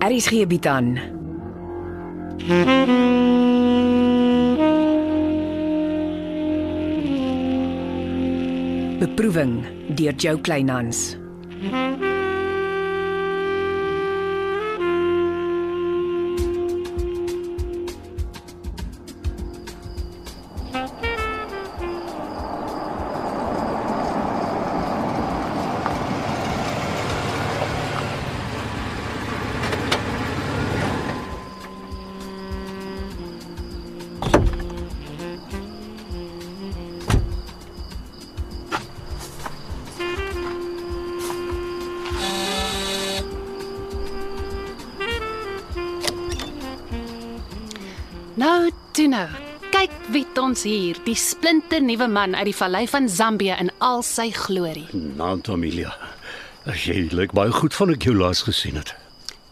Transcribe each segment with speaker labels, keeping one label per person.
Speaker 1: RSG bied aan. Beproeving deur Jo Kleinhans.
Speaker 2: Nou, toe nou. Kyk wie het ons hier, die splinternuwe man uit die vallei van Zambië in al sy glorie.
Speaker 3: Naam Amelia. As jy lyk baie goed van ek jou laas gesien het.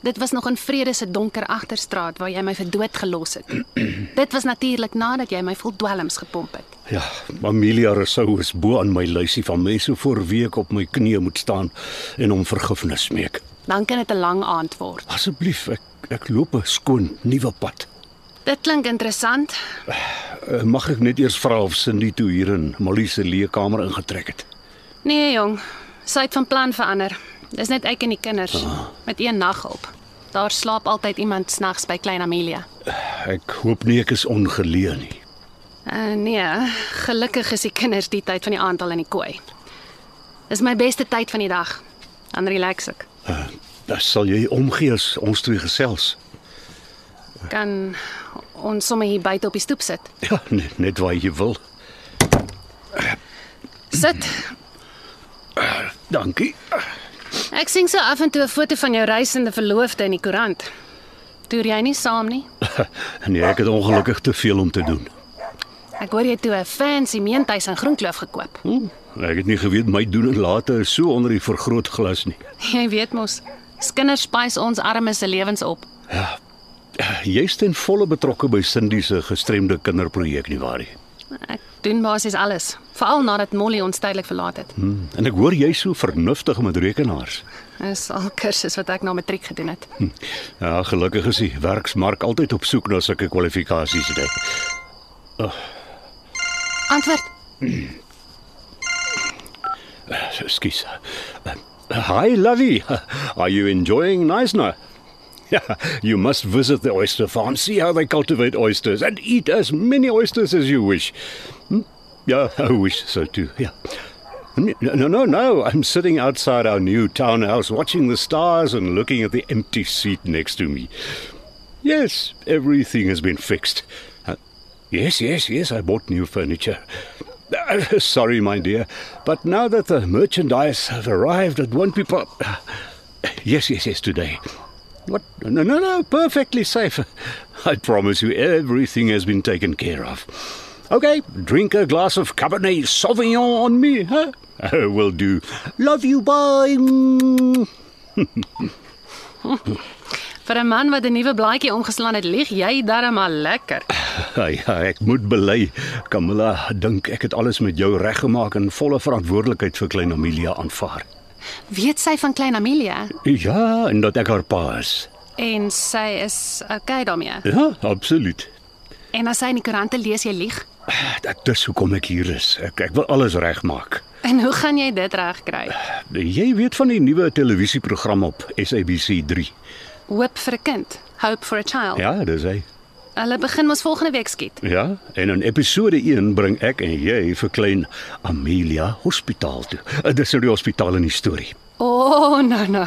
Speaker 2: Dit was nog in vrede se donker agterstraat waar jy my vir dood gelos het. Dit was natuurlik nadat jy my vol dwelms gepomp het.
Speaker 3: Ja, Amelia Rousseau is bo aan my lysie van mense voor wie ek op my knieë moet staan en om vergifnis smeek.
Speaker 2: Dan kan dit 'n lang aand word.
Speaker 3: Asseblief, ek ek loop 'n skoon nuwe pad.
Speaker 2: Dit klink interessant.
Speaker 3: Eh, Mag ek net eers vra of Cindy toe hier in Molly se leekamer ingetrek het?
Speaker 2: Nee, jong. Sy het van plan verander. Dis net ek en die kinders met een nag op. Daar slaap altyd iemand snags by Klein Amelia.
Speaker 3: Ek hoop nie ek is ongeleë nie.
Speaker 2: Uh, nee, gelukkig is die kinders die tyd van die aand al in die kooi. Dis my beste tyd van die dag. Dan relax ek.
Speaker 3: Uh, dan sal jy omgee as ons twee gesels.
Speaker 2: Kan ons sommer hier buite op die stoep sit.
Speaker 3: Ja, net, net waar jy wil.
Speaker 2: Sit.
Speaker 3: Dankie.
Speaker 2: Ek sien so af en toe 'n foto van jou reisende verloofde in die koerant. Toer jy nie saam nie?
Speaker 3: Nee, ek het ongelukkig te veel om te doen.
Speaker 2: Ek hoor jy toe 'n fancy meentuis in Groenkloof gekoop.
Speaker 3: Hm, ek het nie geweet my doen en late is so onder die vergrootglas nie.
Speaker 2: Jy weet mos, kinders spys ons armes se lewens op.
Speaker 3: Jy's ten volle betrokke by Cindy se gestremde kinderprojek nie waar nie?
Speaker 2: Ek doen basies alles, veral nadat Molly ons tydelik verlaat het.
Speaker 3: Hm, en ek hoor jy's so vernuftig met rekenaars.
Speaker 2: Dis al kursus wat ek na matriek gedoen het.
Speaker 3: Hm, ja, gelukkig is die werksmark altyd op soek na sulke kwalifikasies dit.
Speaker 2: Antwoord.
Speaker 3: Ekskuus. Uh, Hi, Lovey. Are you enjoying Neisner? Yeah, you must visit the oyster farm, see how they cultivate oysters, and eat as many oysters as you wish. Hmm? Yeah, I wish so too. Yeah. N- No, no, no. I'm sitting outside our new townhouse watching the stars and looking at the empty seat next to me. Yes, everything has been fixed. Uh, yes, yes, yes, I bought new furniture. Uh, sorry, my dear, but now that the merchandise have arrived, it won't be. Po- uh, yes, yes, yes, today. What? No, no, no, perfectly safe. I promise you, everything has been taken care of. Okay, drink a glass of Cabernet Sauvignon on me, huh? Uh, Will do. Love you, bye. Mm.
Speaker 2: Vir 'n man wat 'n nuwe blaadjie omgeslaan het, lieg jy darm al lekker.
Speaker 3: Ai, ai, ek moet bely. Camilla, dink ek het alles met jou reggemaak en volle verantwoordelikheid vir klein Amelia aanvaar.
Speaker 2: Weet sy van Klein Amelia
Speaker 3: Ja, en dat ek haar pa is.
Speaker 2: en sy is okay daarmee.
Speaker 3: Ja, absoluut.
Speaker 2: En as sy in die koerante lees jy lieg.
Speaker 3: Ek dis hoekom ek hier is. Ek ek wil alles regmaak.
Speaker 2: En hoe gaan jy dit regkry?
Speaker 3: Jy weet van die nuwe televisieprogram op SABC3.
Speaker 2: Hoop vir 'n kind, hope for a child.
Speaker 3: Ja, dis hy.
Speaker 2: Hulle begin mos volgende week skiet.
Speaker 3: Ja, en in episode 1 bring ek en jy vir klein Amelia hospitaal toe. Eh, Dis nou die hospitaal in die storie.
Speaker 2: O, oh, no no.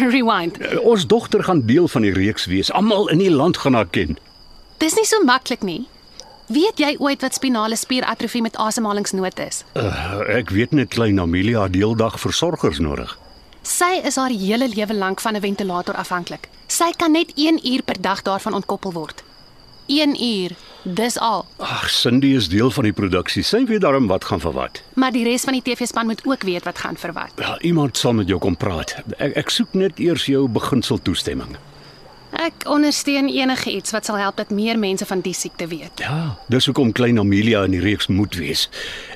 Speaker 2: Rewind.
Speaker 3: Eh, Ons dogter gaan deel van die reeks wees. Almal in die land gaan haar ken.
Speaker 2: Dis nie so maklik nie. Weet jy ooit wat spinale spieratrofie met asemhalingsnood is?
Speaker 3: Uh, ek weet net klein Amelia het deeldag versorgers nodig.
Speaker 2: Sy is haar hele lewe lank van 'n ventilator afhanklik. Sy kan net 1 uur per dag daarvan ontkoppel word. 1 uur, dis al.
Speaker 3: Ag, Cindy is deel van die produksie. Sy weet darm wat gaan vir wat.
Speaker 2: Maar die res van die TV-span moet ook weet wat gaan vir wat.
Speaker 3: Ja, iemand sal met jou kom praat. Ek ek soek net eers jou beginsel toestemming.
Speaker 2: Ek ondersteun enige iets wat sal help dat meer mense van die siekte weet.
Speaker 3: Ja, dis hoekom klein Amelia in die reeks moet wees.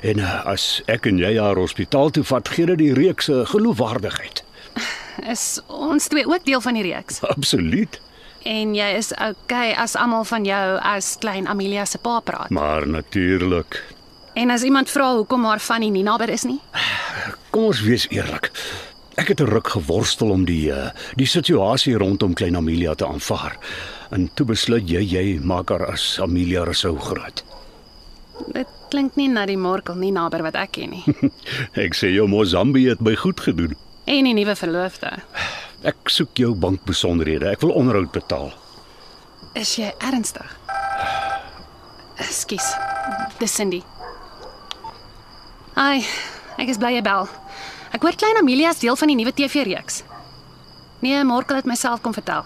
Speaker 3: En eh, as ek en jy haar hospitaal toe vat, gee dit die reeks 'n geloofwaardigheid.
Speaker 2: Is ons twee ook deel van die reeks?
Speaker 3: Absoluut.
Speaker 2: En jy is okay as almal van jou as klein Amelia se pa praat.
Speaker 3: Maar natuurlik.
Speaker 2: En as iemand vra hoekom haar van nie naby is nie?
Speaker 3: Kom ons wees eerlik. Ek het 'n ruk geworstel om die eh, die situasie rondom klein Amelia te aanvaar. En toe besluit jy jy maak haar as Amelia Rousseau groot.
Speaker 2: Dit klink nie na die Markel nie naby wat ek ken nie.
Speaker 3: Ek sê jou Mozambië het my goed gedoen.
Speaker 2: En die nuwe verloofde.
Speaker 3: Ek soek jou bankbesonderhede. Ek wil onderhoud betaal.
Speaker 2: Is jy ernstig? Ekskuus. Dis Cindy. Ai, ek is bly jy bel. Ek hoor klein Amelia is deel van die nuwe TV-reeks. Nee, Markel het myself kom vertel.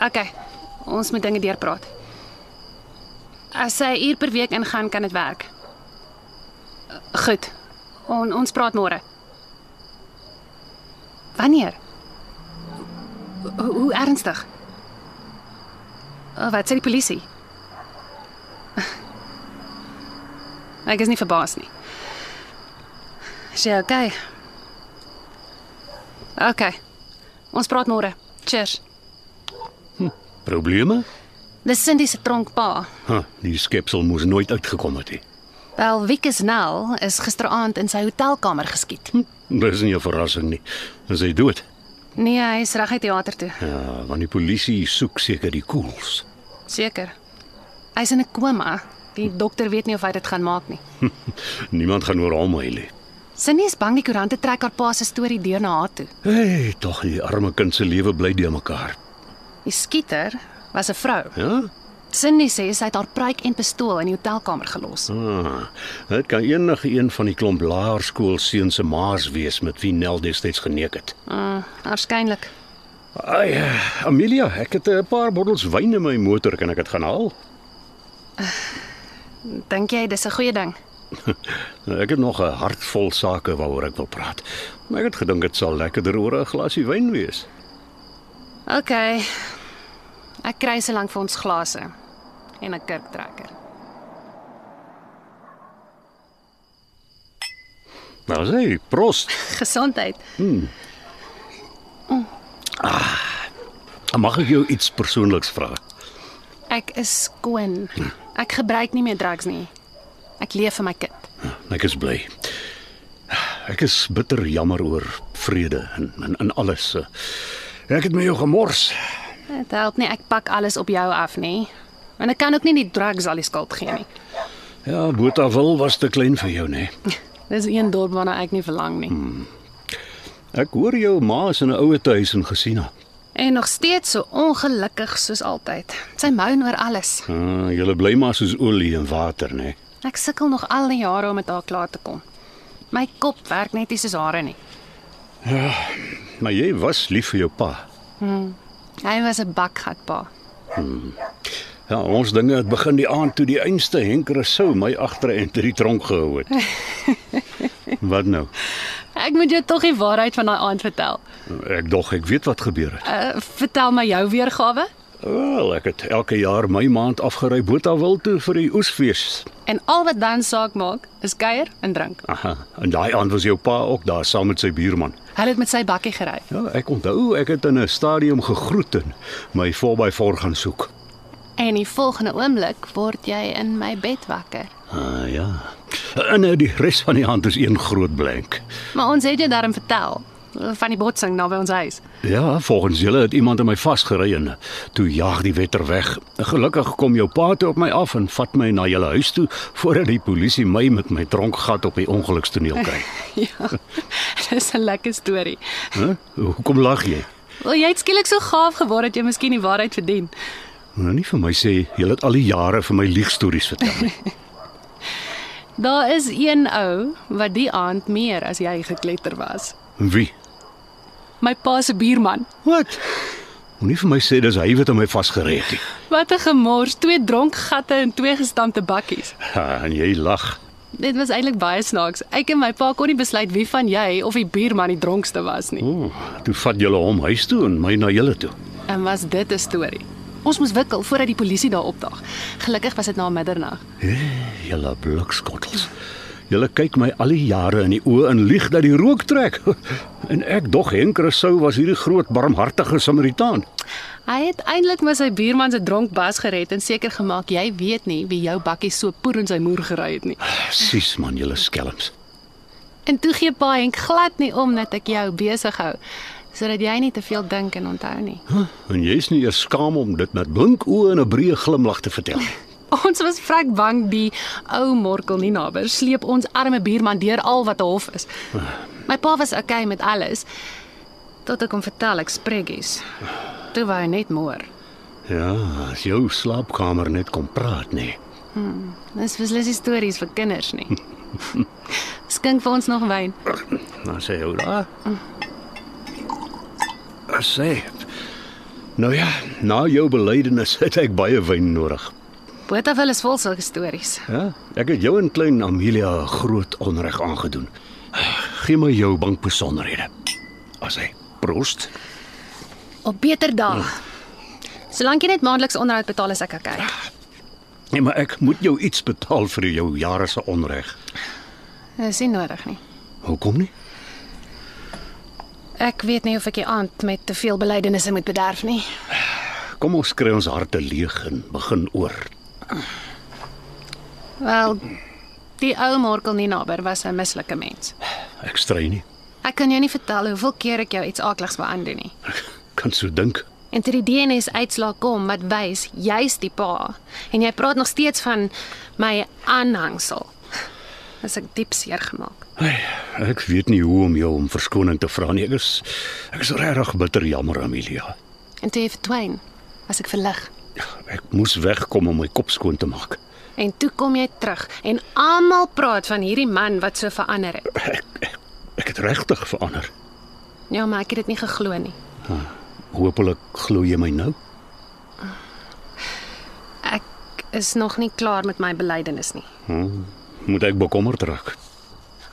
Speaker 2: OK. Ons moet dinge deurpraat. As sy 'n uur per week ingaan, kan dit werk. Goed. On, ons praat môre. Wanneer? Hoe, hoe ernstig? Oh, wat sê die polisie? Ek is nie verbaas nie. Is jy okay? Okay. Ons praat môre. Cheers.
Speaker 3: Probleme?
Speaker 2: Dis Cindy se tronkpa.
Speaker 3: Ha, die skepsel moes nooit uitgekom het nie.
Speaker 2: Wel, Wikus Nel is gisteraand in sy hotelkamer geskiet.
Speaker 3: Hm, dis nie 'n verrassing nie. Is hy dood?
Speaker 2: Nee, hy is reguit teater toe.
Speaker 3: Ja, want die polisie soek seker die koels.
Speaker 2: Seker. Hy's in 'n koma. Die dokter weet nie of hy dit gaan maak nie.
Speaker 3: Niemand gaan oor hom huil nie.
Speaker 2: Cindy is bang die koerante trek haar pa se storie deur na haar toe.
Speaker 3: Hey, tog die arme kind se lewe bly de mekaar.
Speaker 2: Die skieter was 'n vrou.
Speaker 3: Ja?
Speaker 2: Cindy sê sy het haar pruik en pistool in die hotelkamer gelos.
Speaker 3: Ah, dit kan enige een van die klomp laerskoolseuns se maas wees met wie Nel destyds geneek het.
Speaker 2: Mm, waarskynlik.
Speaker 3: Ai, eh, Amelia, ek het 'n paar bottels wyn in my motor, kan ek dit gaan haal?
Speaker 2: Dink jy dis 'n goeie ding?
Speaker 3: Nou, Ek het nog 'n hart vol sake waaroor ek wil praat. Maar ek het gedink dit sal lekkerder oor 'n glasie wyn wees.
Speaker 2: OK. Ek kry se lank vir ons glase en 'n kurktrekker.
Speaker 3: Nou sê, prost.
Speaker 2: Gesondheid.
Speaker 3: Mag ek jou iets persoonliks vra?
Speaker 2: Ek is skoon. Ek gebruik nie meer drugs nie. Ek leef vir my kind.
Speaker 3: Ek is bly. Ek is bitter jammer oor vrede en en, en alles. eh. Ek het my jou gemors.
Speaker 2: Dit help nie ek pak alles op jou af nie. En ek kan ook nie die drugs al die skuld gee nie.
Speaker 3: Ja, Botawil was te klein vir jou, né? Nee.
Speaker 2: Dis een dorp waarna ek nie verlang nie.
Speaker 3: Ek hoor jou ma is in 'n ouete huis in Gesina.
Speaker 2: En nog steeds so ongelukkig soos altyd. Sy mou oor alles.
Speaker 3: Ah, jy bly maar soos olie in water, né? Nee.
Speaker 2: Ek sukkel nog al die jare om met haar klaar te kom. My kop werk net nie soos hare nie.
Speaker 3: Maar jy was lief vir jou pa.
Speaker 2: Hy was 'n bakgatpa.
Speaker 3: Ja, ons dinge het begin die aand toe die einste Henk Rousseau my agter en ter die tronk gehou het. wat nou?
Speaker 2: Ek moet jou tog die waarheid van daai aand vertel.
Speaker 3: Ek dog ek weet wat gebeur het.
Speaker 2: Uh, vertel my jou weergawe.
Speaker 3: Wel, ek het elke jaar my maand afgery Botawil toe vir die oesfees.
Speaker 2: En al wat dan saak maak, is kuier en drink.
Speaker 3: Aha, en daai aand was jou pa ook daar saam met sy buurman.
Speaker 2: Hulle het met sy bakkie gery.
Speaker 3: Ja, ek onthou ek het in 'n stadium gegroet en my 4x4 gaan soek.
Speaker 2: En die volgende oomblik word jy in my bed wakker.
Speaker 3: Ah ja. En nou die res van die hand is een groot blank.
Speaker 2: Maar ons het jou daarom vertel van die botsing naby ons huis.
Speaker 3: Ja, volgens julle het iemand aan my vasgery en toe jaag die wetter weg. Gelukkig kom jou pa toe op my af en vat my na julle huis toe voordat die polisie my met my tronkgat op die ongelukstoneel kry.
Speaker 2: ja. Dis 'n lekker storie.
Speaker 3: Hæ? Hoekom lag jy?
Speaker 2: Wel jy het skielik so gaaf geword dat jy miskien die waarheid verdien.
Speaker 3: Nou nie vir my sê jy het al die jare vir my leegstories vertel nie.
Speaker 2: Daar is een ou wat die aand meer as jy gekletter was.
Speaker 3: Wie?
Speaker 2: My pa se buurman.
Speaker 3: Wat? Moenie vir my sê dis hy wat aan my vasgery het nie.
Speaker 2: Wat 'n gemors, twee dronk gatte en twee gestampte bakkies.
Speaker 3: Ha, en jy lag.
Speaker 2: Dit was eintlik baie snaaks. Ek en my pa kon nie besluit wie van jy of die buurman die dronkste was nie.
Speaker 3: O, toe vat julle hom huis toe en my na julle toe.
Speaker 2: En was dit 'n storie. Ons moes wikkel voordat die polisie daar opdaag. Gelukkig was dit na middernag.
Speaker 3: Julle blikskottels. Julle kyk my al die jare in die oë en lieg dat die rook trek. en ek dog Henk Rousseau was hierdie groot barmhartige Samaritaan.
Speaker 2: Hy het eintlik maar sy buurman se dronk bas gered en seker gemaak jy weet nie wie jou bakkie so poer in sy moer gery het nie.
Speaker 3: Presies man, julle skelms.
Speaker 2: En toe gee pa Henk glad nie om dat ek jou besig hou sodat jy nie te veel dink en onthou nie.
Speaker 3: Huh? En jy's nie eers skaam om dit met blink oë en 'n breë glimlag te vertel.
Speaker 2: Ons was vrek bang die ou Morkel nie naby sleep ons arme buurman deur al wat 'n hof is. My pa was okay met alles tot ek hom vertel ek spreggies. Toe wou hy net moer.
Speaker 3: Ja, as jou slaapkamer net kom praat nee. nie.
Speaker 2: Dis beslis nie stories vir kinders nie. Skink vir ons nog wyn.
Speaker 3: Nou sê jy daar. As sê. Nou ja, na jou belydenis het ek baie wyn nodig.
Speaker 2: Botawil is vol sulke stories.
Speaker 3: Ja, ek het jou en klein Amelia groot onreg aangedoen. Gee my jou bankbesonderhede. As hy prost.
Speaker 2: Op beter dae. Solank jy net maandeliks onderhoud betaal is ek okay.
Speaker 3: Nee, maar ek moet jou iets betaal vir jou jare se onreg.
Speaker 2: Dis nie nodig nie.
Speaker 3: Hoekom nie?
Speaker 2: Ek weet nie of ek die aand met te veel belydenisse moet bederf nie.
Speaker 3: Kom ons kry ons harte leeg en begin oor.
Speaker 2: Wel, die ou Markel Ninaber was 'n mislike mens.
Speaker 3: Ek strei nie.
Speaker 2: Ek kan jou nie vertel hoeveel keer ek jou iets aakligs wou aandoen nie.
Speaker 3: Kan so dink.
Speaker 2: En toe die DNS uitslaa kom wat wys jy's die pa en jy praat nog steeds van my aanhangsel. As ek diep seer gemaak.
Speaker 3: Hey, ek weet nie hoe om jou om verskoning te vra nie. Ek is ek is regtig bitter jammer, Amelia.
Speaker 2: En toe jy verdwyn, was ek verlig.
Speaker 3: Ek moes wegkom om my kop skoon te maak.
Speaker 2: En toe kom jy terug en almal praat van hierdie man wat so verander het.
Speaker 3: Ek het regtig verander.
Speaker 2: Ja, maar ek het dit nie geglo nie.
Speaker 3: Hoopelik glo jy my nou.
Speaker 2: Ek is nog nie klaar met my belydenis nie.
Speaker 3: Hm. Moet ek bekommerd raak?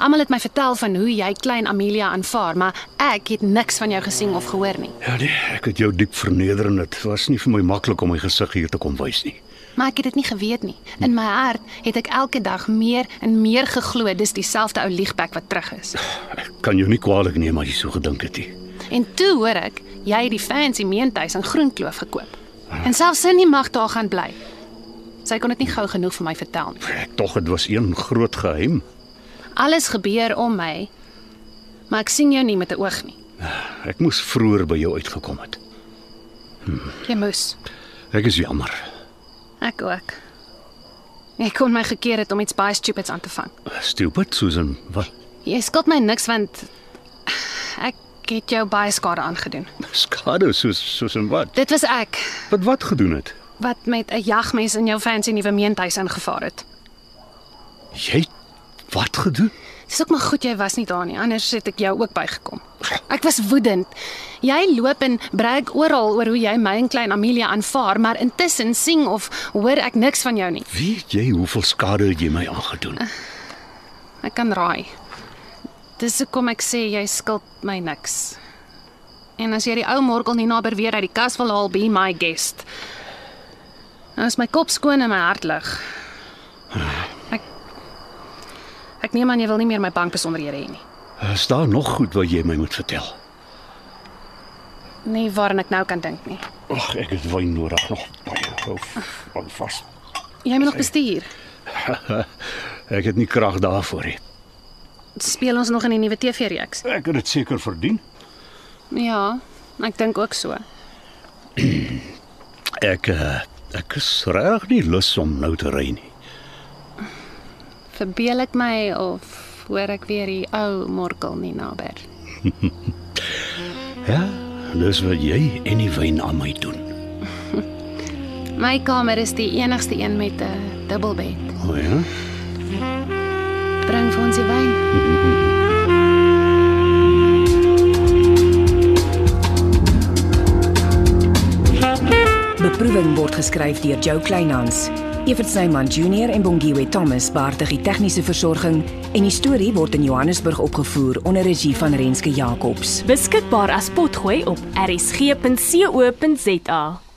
Speaker 2: Almal het my vertel van hoe jy klein Amelia aanvaar, maar ek het niks van jou gesien of gehoor nie.
Speaker 3: Ja nee, ek het jou diep verneder en dit was nie vir my maklik om my gesig hier te kom wys nie.
Speaker 2: Maar ek het dit nie geweet nie. In my hart het ek elke dag meer en meer geglo dis dieselfde ou liegbek wat terug is.
Speaker 3: Ek kan jou nie kwaadlik neem as jy so gedink het nie.
Speaker 2: En toe hoor ek jy het die fancy meentuis in Groenkloof gekoop. En selfs Cindy mag daar gaan bly. Sy kon dit nie gou genoeg vir my vertel nie.
Speaker 3: Ek tog dit was een groot geheim.
Speaker 2: Alles gebeur om my. Maar ek sien jou nie met 'n oog nie.
Speaker 3: Ek moes vroeër by jou uitgekom het.
Speaker 2: Jy moes.
Speaker 3: Ek is jammer.
Speaker 2: Ek ook. Ek kon my gekeer het om iets baie stupids aan te vang.
Speaker 3: Stupid Susan. Wat?
Speaker 2: Jy skuld my niks want ek het jou baie skade aangedoen.
Speaker 3: Skade soos soos en wat?
Speaker 2: Dit was ek
Speaker 3: Wat wat gedoen het?
Speaker 2: wat met 'n jagmes in jou fancy nuwe meentuis ingevaar het.
Speaker 3: Jy het wat gedoen?
Speaker 2: Dis ook maar goed jy was nie daar nie, anders het ek jou ook bygekom. Ek was woedend. Jy loop en brag oral oor hoe jy my en klein Amelia aanvaar, maar intussen sien of hoor ek niks van jou nie.
Speaker 3: Weet jy hoeveel skade jy my aangedoen?
Speaker 2: Ek kan raai. Dis hoekom ek sê jy skuld my niks. En as jy die ou Morkel nie naby weer uit die kas wil haal, be my guest. Nou is my kop skoon en my hart lig. Ek Ek neem aan jy wil nie meer my bankbesonderhede hê nie.
Speaker 3: Is daar nog goed wat jy my moet vertel?
Speaker 2: Nie waaraan ek nou kan dink nie.
Speaker 3: Ag, ek het wyn nodig nog. Hou hou vas.
Speaker 2: Jy moet nog bestuur.
Speaker 3: Ek het nie krag daarvoor nie.
Speaker 2: Speel ons nog in die nuwe TV-reeks?
Speaker 3: Ek het dit seker verdien.
Speaker 2: Ja, ek dink ook so.
Speaker 3: Ek eh, ek is reg nie lus om nou te ry nie.
Speaker 2: Verbeel ek my of hoor ek weer die ou Morkel nie naby?
Speaker 3: Ja, dis wat jy en die wyn aan my doen.
Speaker 2: My kamer is die enigste een met 'n dubbelbed.
Speaker 3: O ja.
Speaker 2: Bring vir ons die wyn.
Speaker 1: Beproeving word geskryf deur Jo Kleinhans. Evert Snyman Junior en Bongwe Thomas baartig die tegniese versorging en die storie word in Johannesburg opgevoer onder regie van Renske Jacobs.
Speaker 4: beskikbaar as potgooi op rsg.co.za.